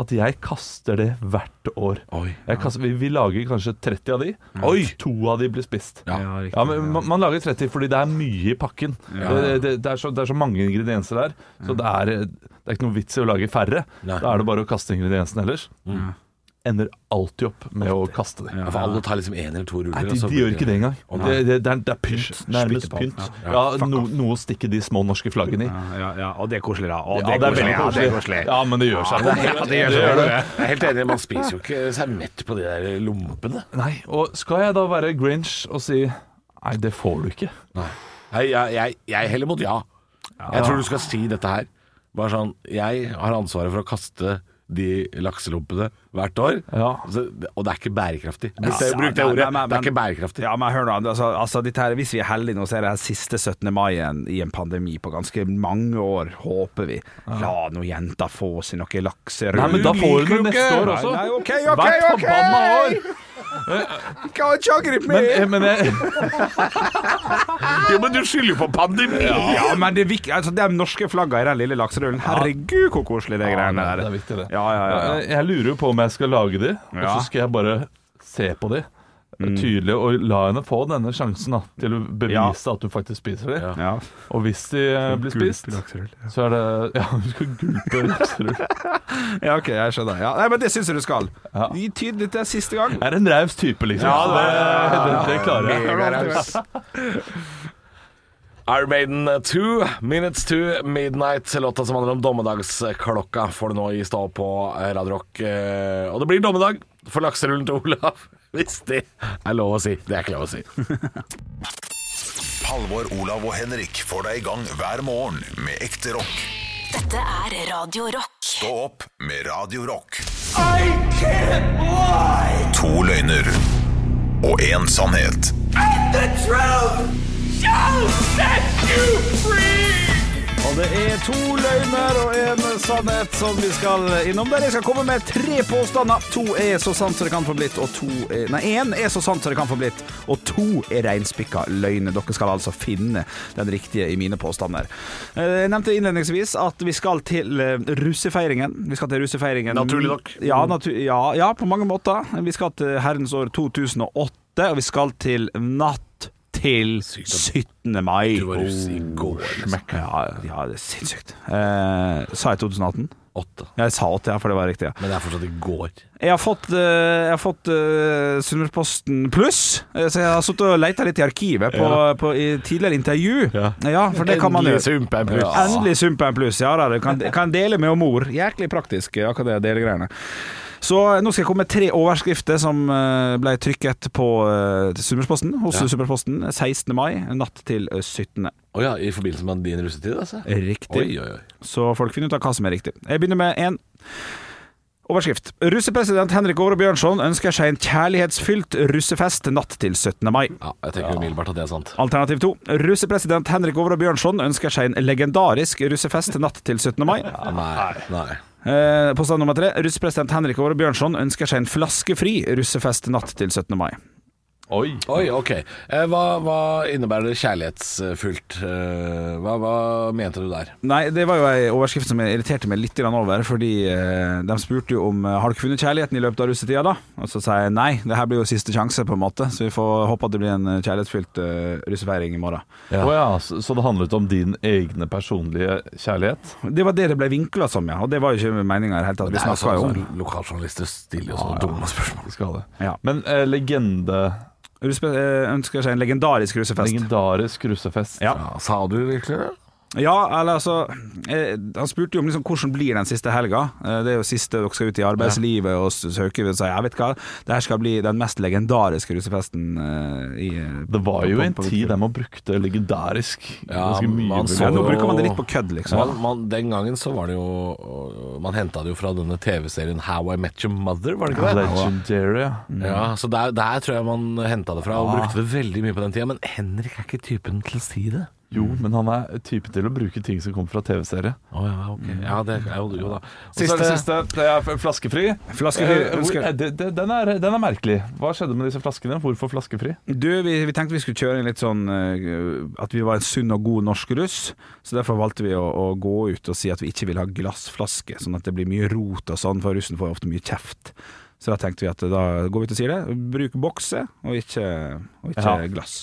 at jeg kaster det hvert år.
Oi.
Jeg kaster, vi, vi lager kanskje 30 av de.
Oi!
To av de blir spist.
Ja, riktig,
Ja, men man, man lager 30 fordi det er mye i pakken. Det, det, det, er så, det er så mange ingredienser der, så det er, det er ikke noe vits i å lage færre.
Mm. Nei. Mm.
Da er det bare å kaste ingrediensene ellers. ender alltid opp med å kaste dem.
For alle tar liksom én eller to ruller.
Nei,
og
de,
så
de
blir
gjør ikke
(laughs)
det engang.
Å,
Det,
nei.
det, det, er, det er pynt. Nærmest
spyttball.
pynt.
Ja,
Ja, no, noe å stikke de små norske flaggene i.
Ja, ja, ja, og det er koselig, da. Å,
Ja, det er veldig
ja, det er
koselig. Ja, men det gjør seg.
det er helt, det gjør
Det gjør
sånn.
det.
Jeg er helt enig, man spiser jo ikke seg mett på de der lompene.
Nei, og skal jeg da være Grinch og si Nei, det får du ikke.
Nei, jeg, jeg, jeg heller mot ja. Jeg tror du skal si dette her. Bare sånn Jeg har ansvaret for å kaste de lakselompene hvert år,
Ja.
så, og det er ikke bærekraftig. Bruk det, bruk det
Ja,
ordet.
men- men-
det er ikke bærekraftig.
Ja, men hør nå, altså, altså dette her, Hvis vi er heldige nå, så er det her siste 17. mai igjen i en pandemi på ganske mange år, håper vi. La nå jenta få seg noe lakserøy.
Nei, men da får du det
Liker
neste
ikke?
år også.
Nei, nei, ok, ok,
Hvert
ok!
forbanna år.
Kan ikke angripe
Men, eh,
meg!
men jeg,
Jo, men du skylder jo på pandemi!
Ja, men det er viktig Altså, de norske flagga i den lille lakserullen. Herregud, hvor koselig (laughs) det greiene
Ja,
der.
Det er viktig, det.
Ja, ja, ja, ja.
Jeg, jeg lurer jo på om jeg skal lage de, og
Ja. Mm.
så skal jeg bare se på de. Tydelig, og la henne få denne sjansen da, til å bevise at du faktisk spiser de.
ja.
Og hvis de eh, blir spist,
Gulp lakserull, ja.
så er det (laughs) Ja, du skal gulpe
(laughs)
lakserull.
ja, OK, jeg skjønner. Ja. Nei, men det syns jeg du skal.
Ja.
Gi tydelig til siste gang.
Jeg er en raus type, liksom. det, det, det klarer jeg.
Megaraus. Iron Maiden 2, Minutes to Midnight, låta som handler om dommedagsklokka, får du nå i stå på Radio Rock. Eh, Og det blir dommedag for lakserullen til Olav, (laughs) hvis det er lov å si. Det er ikke lov å si.
Halvor, Olav og Henrik får deg i gang hver morgen med ekte rock.
Dette er Radio Rock.
Stå opp med Radio Rock.
I can't lie!
To løgner og én sannhet.
And the truth shall set you free!
Og det er to løgner og en sannhet som vi skal innom der. Jeg skal komme med tre påstander. To er så sant som det kan få blitt, og to er Nei, én er så sant som det kan få blitt, og to er reinspikka løgner. Dere skal altså finne den riktige i mine påstander. Eh, Jeg nevnte innledningsvis at vi skal til eh, russefeiringen. Vi skal til russefeiringen
Naturlig nok.
Ja, natu ja, ja, på mange måter. Vi skal til herrens år 2008, og vi skal til natt til 17. mai.
Du var russ i går. liksom.
Ja, ja, det er sinnssykt. Eh, sa jeg 2018?
Åtte.
Jeg sa 8, ja, for det var riktig. ja
Men det er fortsatt i går.
Jeg har fått, eh, jeg har fått eh, Sunnmørsposten Pluss, eh, så jeg har sittet og leita litt i arkivet på, på i tidligere intervju. Ja. for det kan man
Endelig
gjøre.
sumpe en pluss.
Endelig Sumpen pluss. Ja da, du kan, kan dele med og mor. Jæklig praktisk, eh, akkurat det delegreiene. Så eh, nå skal jeg komme med tre overskrifter som eh, ble trykket på eh, Sunnmørsposten, hos Sunnmørsposten 16. mai, natt til 17.
Å ja, i forbindelse med din russetid, altså?
Riktig.
Oi, oi, oi.
Så folk finner ut av hva som er riktig. Jeg begynner med en overskrift. Russepresident Henrik Åre Bjørnson ønsker seg en kjærlighetsfylt russefest natt til 17. mai.
Ja, jeg tenker umiddelbart at det er sant.
Alternativ 2. Russepresident Henrik Åre Bjørnson ønsker seg en legendarisk russefest natt til 17. mai.
Nei. Nei.
Eh, Påstand nummer tre. Russepresident Henrik Åre Bjørnson ønsker seg en flaskefri russefest natt til 17. mai.
Oi.
Oi, ok. Eh, Hva, hva innebærer det kjærlighetsfullt? Eh, Hva, hva mente du der?
Nei, det var jo ei overskrift som jeg irriterte meg litt grann over, fordi eh, de spurte jo om eh, Har du ikke funnet kjærligheten i løpet av russetida, da? Og så sa jeg nei, det her blir jo siste sjanse, på en måte, så vi får håpe at det blir en eh, kjærlighetsfylt eh, russefeiring i morgen.
Å ja, så, så det handlet om din egne personlige kjærlighet?
Det var det det ble vinkla som, ja, og det var jo ikke meninga i det hele tatt. Vi
Det er
snakka jo om
sånn som Lokaljournalister stiller jo sånne dumme spørsmål.
Det skal det.
Ja.
Men eh, legende
Russe, eh, Ønsker seg en legendarisk russefest.
Legendarisk russefest.
Ja.
Ja, sa du virkelig det?
Ja, eller altså eh, Han spurte jo om liksom, hvordan blir den siste helga. Eh, det er jo siste dere skal ut i arbeidslivet og s- søke. Og si, jeg vet hva, det her skal bli den mest legendariske russefesten eh, i
Det var jo
på-
en
på-
tid der man brukte legendarisk
Ja,
ganske mye.
man
vel?
så
ja, Nå
jo-
bruker man det litt på kødd, liksom.
Man, man, den gangen så var det jo Man henta det jo fra denne TV-serien How I Met Your Mother, var det ikke det?
Legendary, ja.
Ja, så der, der tror jeg man henta det fra, og brukte det veldig mye på den tida. Men Henrik er ikke typen til å si det.
Jo, men han er typen til å bruke ting som kommer fra TV-serie.
Å ja, ok. Ja, det er jo, jo da.
Siste, siste. Det er flaskefri.
Flaskefri,
Eh, hvor-
ønsker-
eh, det, det, den, er, den er merkelig. Hva skjedde med disse flaskene? Hvorfor flaskefri?
Du, vi, vi tenkte vi skulle kjøre en litt sånn eh, At vi var en sunn og god norsk russ. Så derfor valgte vi å, å gå ut og si at vi ikke vil ha glassflaske, sånn at det blir mye rot og sånn, for russen får jo ofte mye kjeft. eh, Så da tenkte vi at da går vi ut og sier det. Bruk bokse og ikke, og ikke
Ja.
glass.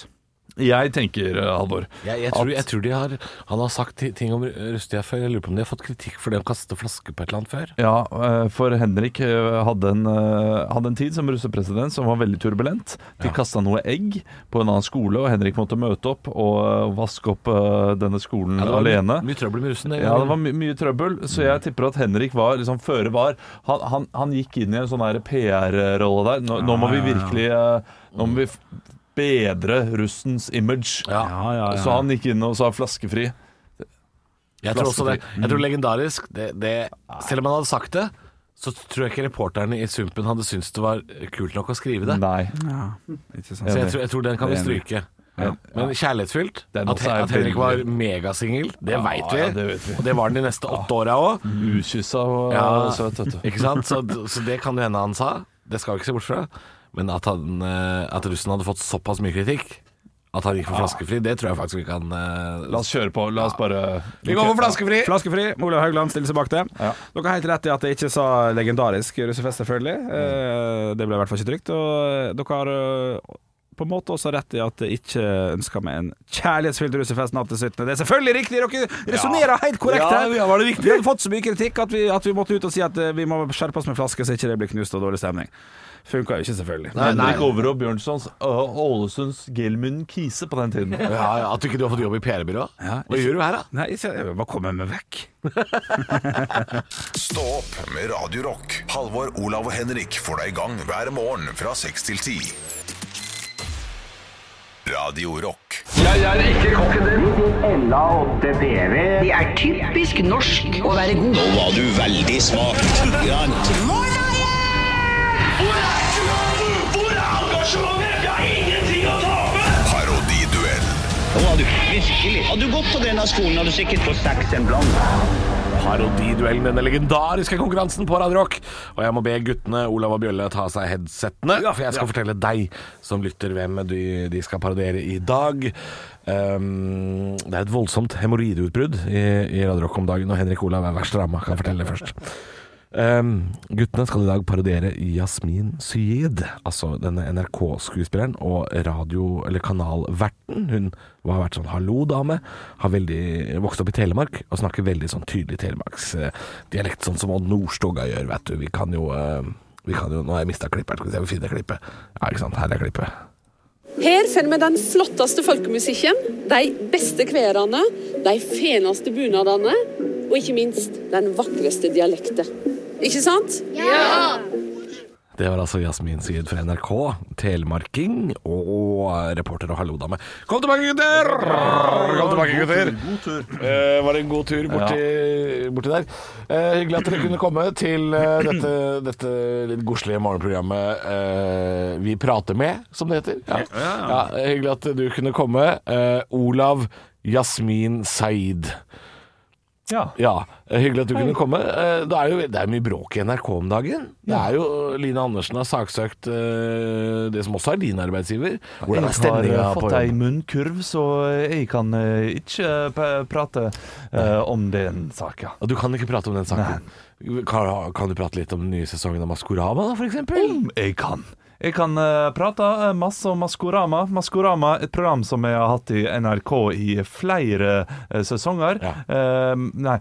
Jeg tenker, eh, Halvor
Jeg, jeg, tror, jeg tror de har Han har sagt ti- ting om Rustia før. Jeg lurer på om de har fått kritikk for det å kaste flasker på et eller annet før.
Ja, eh, for Henrik eh, hadde en, eh, hadde en tid som russepresident som var veldig turbulent. De kasta noe egg på en annen skole, og Henrik måtte møte opp og eh, vaske opp eh, denne skolen
det var
alene.
Mye, mye trøbbel med russen.
Ja, det var my mye trøbbel, så jeg tipper at Henrik var liksom føre var. Han, han, han gikk inn i en sånn her PR-rolle der. Nå, nå må vi
Ah,
virkelig eh, Nå må vi f- bedre russens image.
Ja.
ja,
Så han gikk inn og sa flaskefri.
Jeg tror også det. Jeg
Mm.
tror legendarisk det, det, Selv om han hadde sagt det, så tror jeg ikke reporterne i Sumpen hadde syntes det var kult nok å skrive det.
Nei.
Ikke sant?
Så jeg tror, jeg tror den kan vi
Enig.
stryke. Men kjærlighetsfylt,
Den
at,
også er
at Henrik var
veldig-
megasingel, det
Ja,
veit vi.
ja, det vet vi.
Og det var han de neste åtte åra òg.
Ukyssa og
Ja.
søt, vet du.
Ikke sant? Så, så det kan jo hende han sa. Det skal vi ikke se bort fra. Men at, han, eh, at russen hadde fått såpass mye kritikk at han gikk for flaskefri, det tror jeg faktisk vi kan eh,
La oss kjøre på. La oss bare
Vi går for flaskefri!
Flaskefri. Olav Haugland stiller seg bak det. Dere har helt rett i at jeg ikke sa legendarisk russefest, selvfølgelig.
Mm.
Eh, Det ble i hvert fall ikke trygt. Og dere har eh, på en måte også rett i at jeg ikke ønsker meg en kjærlighetsfylt russefest natt til 17. Det er selvfølgelig riktig! Dere resonnerer helt korrekt
Ja,
her.
ja, var det riktig?
Vi har fått så mye kritikk at vi, at vi måtte ut og si at eh, vi må skjerpe oss med flasker så ikke det blir knust og dårlig stemning. Funka jo ikke, selvfølgelig.
Henrik Over og Bjørnsons og Ålesunds Gelmund Kise på den tiden.
Ja, ja, at du ikke du har fått jobb i PR-byrået?
Ja,
Hva gjør du her, da?
Nei, ikke- jeg bare kommer meg vekk.
Stå opp med Radio Rock. Halvor, Olav og Henrik får deg i gang hver morgen fra 6 til 10. Radio Rock.
Det er typisk norsk å være god.
Hvor er engasjementet? Vi har ingenting å tape!
Parodiduell.
Nå var du virkelig. Hadde du gått på denne skolen, hadde du sikkert fått seks en blant.
Parodiduellen, denne legendariske konkurransen på Radio Rock. Og jeg må be guttene Olav og Bjølle ta av seg headsettene, for jeg skal fortelle deg som lytter hvem du, de skal parodiere i dag. Um, det er et voldsomt hemoroideutbrudd i, i Radio Rock om dagen, og Henrik Olav er verst ramma, kan jeg fortelle det først. Um, guttene skal i dag parodiere Yasmin Syed, altså denne NRK-skuespilleren og radio- eller kanalverten. Hun har vært sånn 'hallo, dame', har veldig, vokst opp i Telemark og snakker veldig sånn tydelig telemarksdialekt, sånn som Odd Nordstoga gjør, vet du. Vi kan jo, eh, vi kan jo Nå har jeg mista klipperen, skal vi se om vi finner klippet. Ja, ikke sant. Her er klippet.
Her finner vi den flotteste folkemusikken, de beste kverene, de feneste bunadene, og ikke minst den vakreste dialekten. Ikke sant?
Det var altså Yasmin Syed fra NRK, telemarking og reporter og hallo, dame. Kom tilbake, gutter! Kom tilbake, gutter. Eh, var det en god tur borti, borti der? Eh, hyggelig at dere kunne komme til
(clears throat)
eh, dette, dette litt godslige morgenprogrammet eh, Vi prater med, som det heter. Ja. Ja, eh, hyggelig at du kunne komme. Eh, Olav Yasmin Saeed.
Ja.
Ja, eh, Hyggelig at du kunne komme. Eh, Det er jo det er mye bråk i NRK om dagen. Det er jo Line Andersen har saksøkt eh, det som også er din arbeidsgiver. Hvordan er
Jeg
stemninga
har eh,
på
fått ei
jobb?
munnkurv, så jeg kan eh, ikke eh, p- prate eh, om den saka.
Du kan ikke prate om den saken. Kan, kan du prate litt om den nye sesongen av Maskorama, da, for eksempel?
Om jeg kan. Jeg kan eh, prate eh, masse om Maskorama. Maskorama, Et program som jeg har hatt i NRK i flere eh, sesonger. Eh, nei,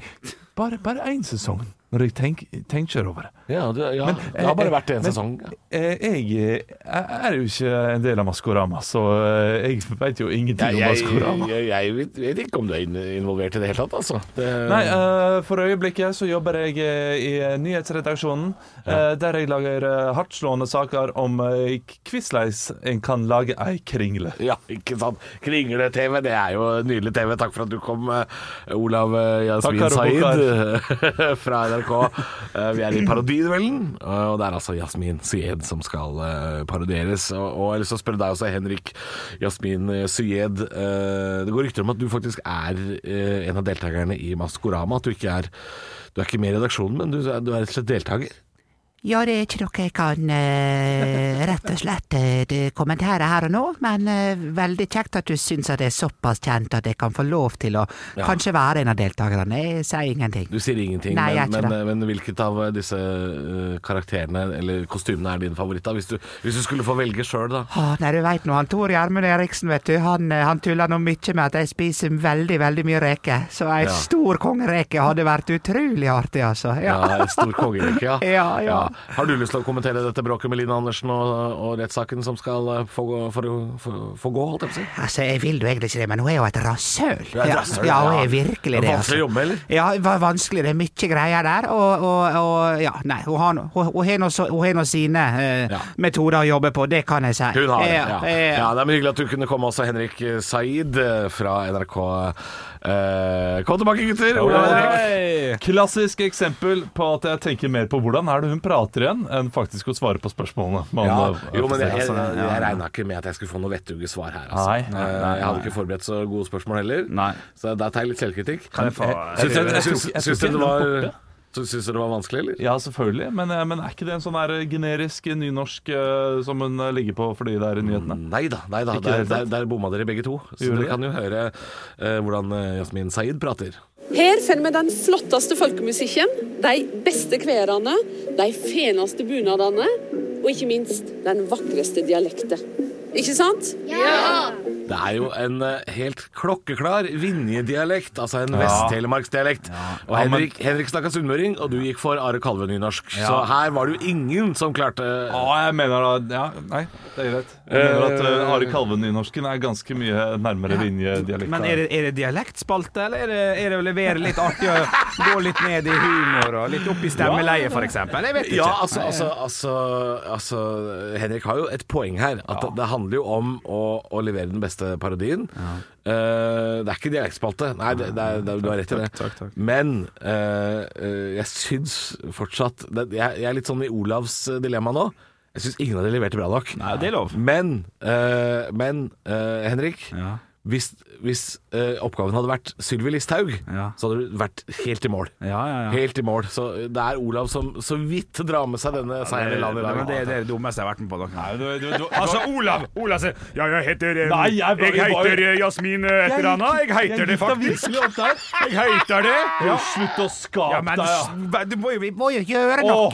bare, bare én sesong, når jeg tenk, tenker over det.
Ja, du, ja.
Men,
det har bare
eh,
vært én
men-
sesong.
Eh, Jeg eh, er jo ikke en del av Maskorama, så eh, jeg veit jo ingenting om Maskorama.
jeg, vet, vet ikke om du er in- involvert i det hele tatt, altså. Det,
Nei, eh, for øyeblikket så jobber jeg eh, i nyhetsredaksjonen, eh, der jeg lager eh, hardtslående saker om eh, kvissleis en kan lage ei kringle.
Ja, ikke sant. Kringle-TV, det er jo nydelig TV. Takk for at du kom, eh, Olav eh, Yasmin
Takkar og
Saeed (laughs) fra NRK. Eh, Vi er i parodiduellen, eh, og det er altså Yasmin Syed som skal eh, parodieres. Og, og jeg har lyst til å spørre deg også, Henrik. Yasmin eh, Syed, eh, det går rykter om at du faktisk er eh, en av deltakerne i Maskorama. At du ikke er Du er ikke med i redaksjonen, men du, er- du er rett og slett deltaker.
Ja, det er ikke noe jeg kan eh, rett og slett eh, det- kommentere her og nå, men eh, veldig kjekt at du syns at det er såpass kjent at jeg kan få lov til å
Ja.
kanskje være en av deltakerne. Jeg sier ingenting.
Du sier ingenting,
Nei, jeg
men,
er ikke
men, men hvilket av disse eh, karakterene eller kostymene er din favoritt? da? Hvis du, hvis du skulle få velge sjøl, da.
Å, Ah, nei, du veit nå, han Tor Gjermund Eriksen, vet du, han, eh, han tuller nå mye med at jeg spiser veldig, veldig mye reker. Så ei
Ja.
stor kongereke hadde vært utrolig artig, altså.
Ja,
Ja.
en
(laughs)
Stor kongerike, ja.
Ja, ja.
Har du lyst til å kommentere dette bråket med Line Andersen og, og rettssaken som skal eh, få, gå- for- for- få gå, holdt jeg på å si?
Altså, jeg vil jo egentlig ikke det, men hun er jo et rasshøl.
Du er et rasshøl,
ja, hun
ja.
er virkelig
Er
det. altså.
det vanskelig å jobbe med, eller?
Ja, det var vanskelig. Det er mye greier der. Og, og, og ja, nei, hun har nå- hun- hun har nå så- hun har nå sine eh, metoder å jobbe på, det kan jeg si.
Hun har det, ja.
Ja, eh,
ja. Det er hyggelig at du kunne komme også, Henrik Said eh, fra NRK. Eh, Kom tilbake, gutter! Olav og Henrik.
Klassisk eksempel på at jeg tenker mer på hvordan er det hun prater igjen, enn faktisk å svare på spørsmålene. man,
Ja,
eh,
jo, men jeg, jeg,
stiller.
jeg, regna ikke med at jeg skulle få noe vettuge svar her. Altså.
Nei, nei,
Eh,
nei,
jeg hadde
nei.
ikke forberedt så gode spørsmål heller, så der tar jeg litt selvkritikk.
Kan jeg få-
Syns
Jeg- jeg-
dere-
jeg-
syns-
jeg- jeg-
syns
jeg-
dere det var
jeg- jeg-
så Syns dere det var vanskelig, eller?
Ja, selvfølgelig. Men, eh, men er ikke det en sånn her generisk nynorsk eh, som hun eh, ligger på fordi det er i nyhetene?
Nei da, nei da.
Ikke
Der,
det hele
der,
tatt?
der bomma dere begge to. Så dere
Gjorde det?
kan jo høre eh, hvordan eh, Yasmin Saeed prater.
Her finner vi den flotteste folkemusikken, de beste kverene, de feneste bunadene, og ikke minst den vakreste dialekten. Ikke sant? Ja!
Det er jo en eh, helt klokkeklar Vinje-dialekt, altså en
Ja.
Vest-Telemarks-dialekt. Og
Ja, men-
Henrik, Henrik snakka sunnmøring, og du gikk for Are Kalve-nynorsk.
Ja.
Så her var det jo ingen som klarte
Ja, jeg mener da Ja, nei, det er greit. Jeg mener at eh, Are Kalve-nynorsken er ganske mye nærmere Vinje-dialekta.
Men er det, er det dialektspalte, eller er det, er det å levere litt artig og gå litt ned i humor og litt opp i stemmeleiet, f.eks.? Jeg vet ikke.
Ja, altså, altså, altså, altså Henrik har jo et poeng her. At det, det handler jo om å, å levere den beste parodien. Eh, det er ikke dialektspalte. Nei, det, det er, det, er- du har rett i det.
Takk, takk.
Men eh, eh, jeg syns fortsatt det, jeg, jeg er litt sånn i Olavs dilemma nå. Jeg syns ingen av de leverte bra nok.
Nei, det er lov.
Men, eh, men eh, Henrik.
Ja.
Hvis, hvis eh, oppgaven hadde vært Sylvi Listhaug,
Ja.
så hadde du vært helt i mål.
Ja, ja, ja.
Helt i mål. Så det er Olav som så vidt drar med seg denne seieren i landet i
Men eh,
dag.
det, det er det dummeste jeg har vært med på. Dere.
Nei, du, du, du,
Altså, Olav! Olav sier Ja, jeg heter eh,
Nei, jeg
Jeg
bare-
heter
bare-
eh, Jasmin eh, et eller annet. Jeg heter det faktisk. Jeg heiter det. Ja.
Slutt å
Ja,
skape
men
deg,
s-
ja.
Du må jo, vi må jo gjøre
Åh.
noe!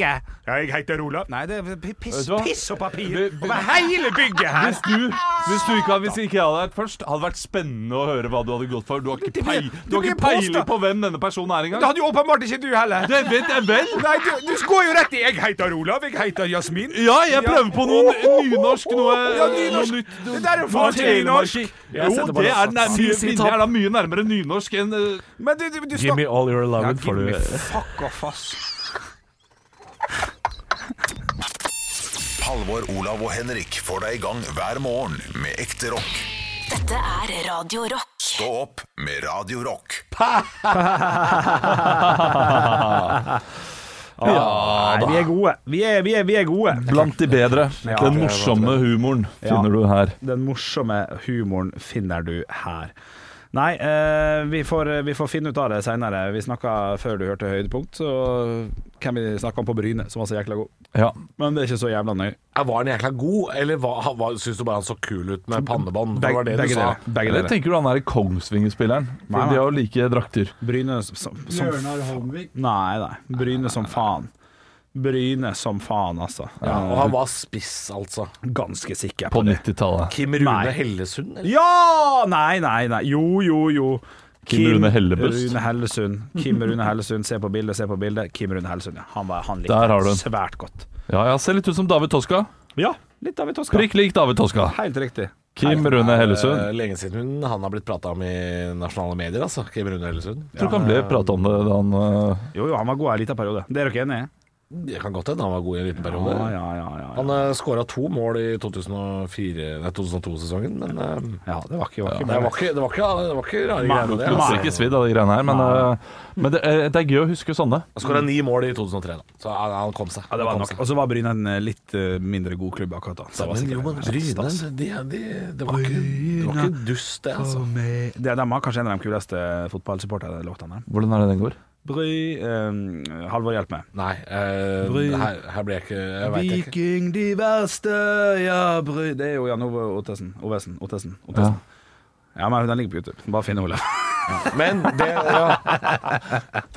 Ja, jeg heter Olav.
Nei, det er p- piss,
Vet du hva?
piss og papir
Vi- vi-
over hele bygget her!
Hvis du, hvis du ikke, hvis ikke jeg hadde vært først, hadde det vært spennende å høre hva du hadde gått for. Du har ikke,
Det
peil,
blir-
du har
det
ikke
blir
peiling
påstå-
på hvem denne personen er
Det
engang.
hadde jo åpenbart ikke du heller.
Det vet jeg vel!
Nei, du, du går jo rett i 'jeg heter Olav', 'jeg heter Jasmin'.
Ja, jeg prøver på noe nynorsk. Noe,
Ja, nynorsk.
noe nytt.
Det der er jo faen ikke nynorsk.
Jo, det er, nær- mye, Vinje er da mye nærmere nynorsk enn eh,
Men du, du, du
Give me
snakker
all your
ja,
love,
give me fuck off, ass.
(laughs)
Halvor, Olav og Henrik får deg i gang hver morgen med ekte rock.
Dette er Radio Rock.
Stå opp med Radio Rock.
Nei, Ah, vi er gode. Vi er, vi er, vi er gode.
Blant de bedre.
Ja,
Den
det er
morsomme humoren finner du her.
Den morsomme humoren finner du her. Nei, eh, vi, får, vi får finne ut av det seinere. Vi snakka før du hørte høydepunkt, så hvem vi snakka om på Bryne, som var så jækla god.
Ja.
Men det er ikke så jævla nøye.
Var han jækla god, eller hva, han- hva, syns du bare han så kul ut med pannebånd? Det var det du
begge deler.
sa.
Begge
Eller
deler.
tenker du han er Kongsvinger-spilleren?
Nei,
For de har jo like drakter.
Bryne som, som Bjørnar Holmvik? Nei, nei. Bryne som faen. Bryne som faen, altså.
Ja, og han var spiss, altså.
Ganske sikker
På
på det.
90-tallet.
Kim Rune
Nei.
Hellesund, eller?
Ja! Nei, nei, nei. Jo, jo, jo.
Kim Rune Hellebust.
Rune Hellesund. Kim Rune Hellesund. Se på bildet, se på bildet. Kim Rune Hellesund, ja. Han, var, han likte
Der har du
det
den.
svært godt.
Ja, ja, Ser litt ut som David Toska.
Ja, litt av et Oskar.
Prikk lik David Toska.
Helt riktig.
Kim Rune Hellesund.
Eh, Lenge siden hun, han har blitt prata om i nasjonale medier, altså. Kim Rune Hellesund.
Jeg tror ikke han ble prata om det da han eh,
Jo, jo, han var god en liten periode. Det er dere enige i?
Det kan godt hende han var god i en liten
Ja,
periode.
ja, ja, ja, ja.
Han skåra to mål i 2004 nei, 2002-sesongen, men eh,
ja. Det var ikke, var ikke
det, var ikke, det, var ikke, det var ikke rare
Nei,
greiene, det.
Lukter
Altså.
ikke svidd av de greiene her, men, eh, men det, eh, det er gøy å huske sånne.
Han skåra ni mål i 2003, da. så han, han kom seg.
Ja, det var
Han kom
nok.
seg.
Og så var Bryne en eh, litt eh, mindre god klubb akkurat da. Så det var
Men
sikkert-
jo, men Bryne de, de, det, var ikke, det var ikke dust, det, altså.
Det, de var kanskje en av de kuleste fotballsupporterne.
Hvordan er det den går?
Bry eh, Halvor, hjelp meg.
Nei, eh,
Bry.
her, her ble jeg ikke Jeg veit ikke.
Viking de verste, ja bry Det er jo Jan Ove Ottesen. Ovesen. Ottesen. Ottesen. Ja. men den ligger på YouTube. Bare finn Olav.
Men det ja.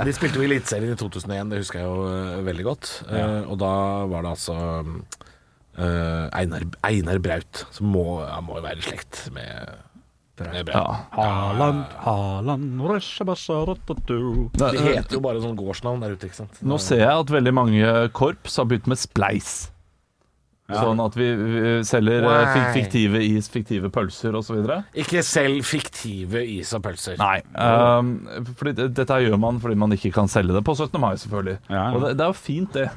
De spilte jo Eliteserien i 2001, det husker jeg jo eh, veldig godt. Eh, og da var det altså eh, Einar, Einar Braut, som må, han må jo være i slekt med med Braut.
Haaland, Haaland, røsjebassa, rottatu.
Det heter jo bare sånn gårdsnavn der ute, ikke sant.
Nå ser jeg at veldig mange korps har begynt med spleis. Sånn at vi, vi selger eh, fik-
Nei.
fiktive is, fiktive pølser osv.
Ikke selv fiktive is og pølser.
Nei. Um, fordi det- dette her gjør man fordi man ikke kan selge det på 17. mai, selvfølgelig. Og det, det er jo fint, det.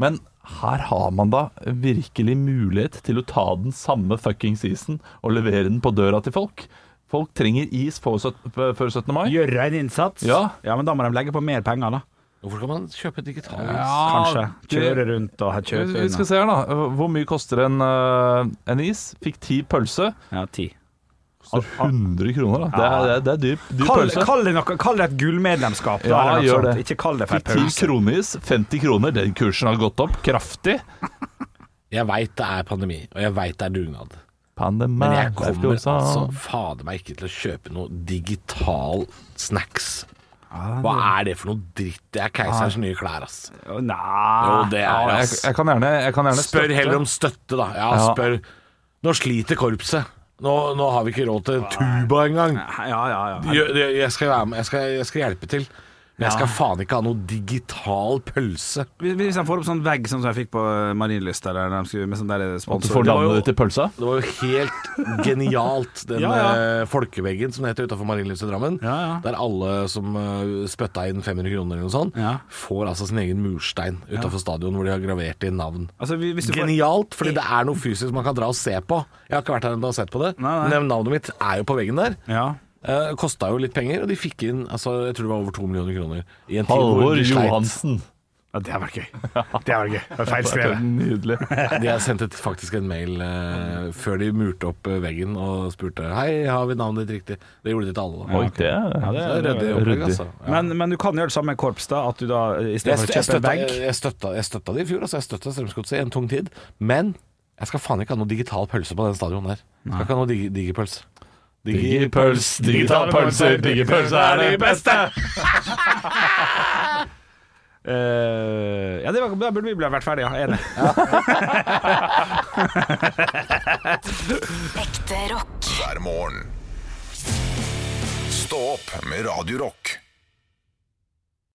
Men her har man da virkelig mulighet til å ta den samme fuckings isen og levere den på døra til folk. Folk trenger is på sytt- f- før 17. mai.
Gjøre en innsats.
Ja.
men da må de legge på mer penger, da.
Hvorfor skal man kjøpe digital is?
Kanskje.
det-
Kjøre rundt og kjøpe
Vi Ah, skal se her, da. Hvor mye koster en, eh, en is? Fikk ti pølse.
Ja, ti. Altså,
Koster 100 kroner, da. Det er, det er, det er dyr, dyr
Kall,
pølse.
kall, det noe, kall det et gullmedlemskap. da,
Ja,
eller noe
gjør
sånt.
det.
Ikke kall det for
Fikk
en
ti
pause.
kroneis, 50 kroner. Den kursen har gått opp kraftig.
Jeg veit det er pandemi, og jeg veit det er dugnad.
Pandemi
Men jeg
det er
kommer
ikke noe
altså
sånn.
fader meg ikke til å kjøpe noe digital snacks.
Ah.
Hva er det for noe dritt? Det er keiserens nye klær, ass.
Å, Nei
Jo, det
Ah, Ja,
er
jeg,
ass.
jeg kan gjerne, jeg kan gjerne
Spør
støtte.
heller om støtte, da. Ja,
Ja.
spør. Nå sliter korpset. Nå, nå har vi ikke råd
Ah.
til tuba engang.
Ja, ja, ja.
Jeg, jeg, skal være med. Jeg, skal, jeg skal hjelpe til. Men jeg skal faen ikke ha noe digital pølse.
Hvis- Hvis jeg får opp sånn vegg sånn som jeg fikk på eh, Marienlyst, eller når de skulle- med sånn der
At du
sponsor
får
Det var jo-
navnet ditt i pølsa?
Det var jo helt genialt, den
Ja, ja.
eh, folkeveggen som det heter utafor Marienlyst i Drammen.
Ja, ja.
Der alle som eh, spytta inn 500 kroner eller noe sånt,
Ja.
får altså sin egen murstein utafor stadion hvor de har gravert inn navn.
Altså, hvis- hvis du får-
Genialt, fordi det er noe fysisk man kan dra og se på. Jeg har ikke vært her ennå og sett på det.
Nei, nei.
Men navnet mitt er jo på veggen der.
Ja.
Eh, Kosta jo litt penger, og de fikk inn altså, jeg tror det var over to millioner kroner. I en tid hvor
Halvor
de sleit.
Johansen.
ja, det hadde vært gøy. Det
(laughs)
hadde vært gøy. Det var feilskrevet.
Nydelig.
De har sendt et, faktisk en mail eh, før de murte opp eh, veggen og spurte Hei, har vi navnet ditt riktig? Det gjorde de til alle. da.
Oi, det er
(laughs) Ja, det
Så det er ryddig opplegg,
ryddig.
altså. Ja.
Men, men du kan gjøre det samme med korps, da. At du da eh, i stedet
jeg,
for å
stø- jeg,
kjøpe en
støtta,
vegg
jeg, jeg, støtta, jeg støtta de i fjor, altså. Jeg støtta Strømsgodset i en tung tid. Men jeg skal faen ikke ha noe digital pølse på den stadion der. Jeg skal ikke ha noe dig, digerpølse.
Digipøls, digital pølse, digipølse er det beste!
(laughs) Eh, Ja, det var, da burde vi bli- vært ferdige, ja. Enig.
Ekte rock.
hver morgen. Stå opp med Radio Rock.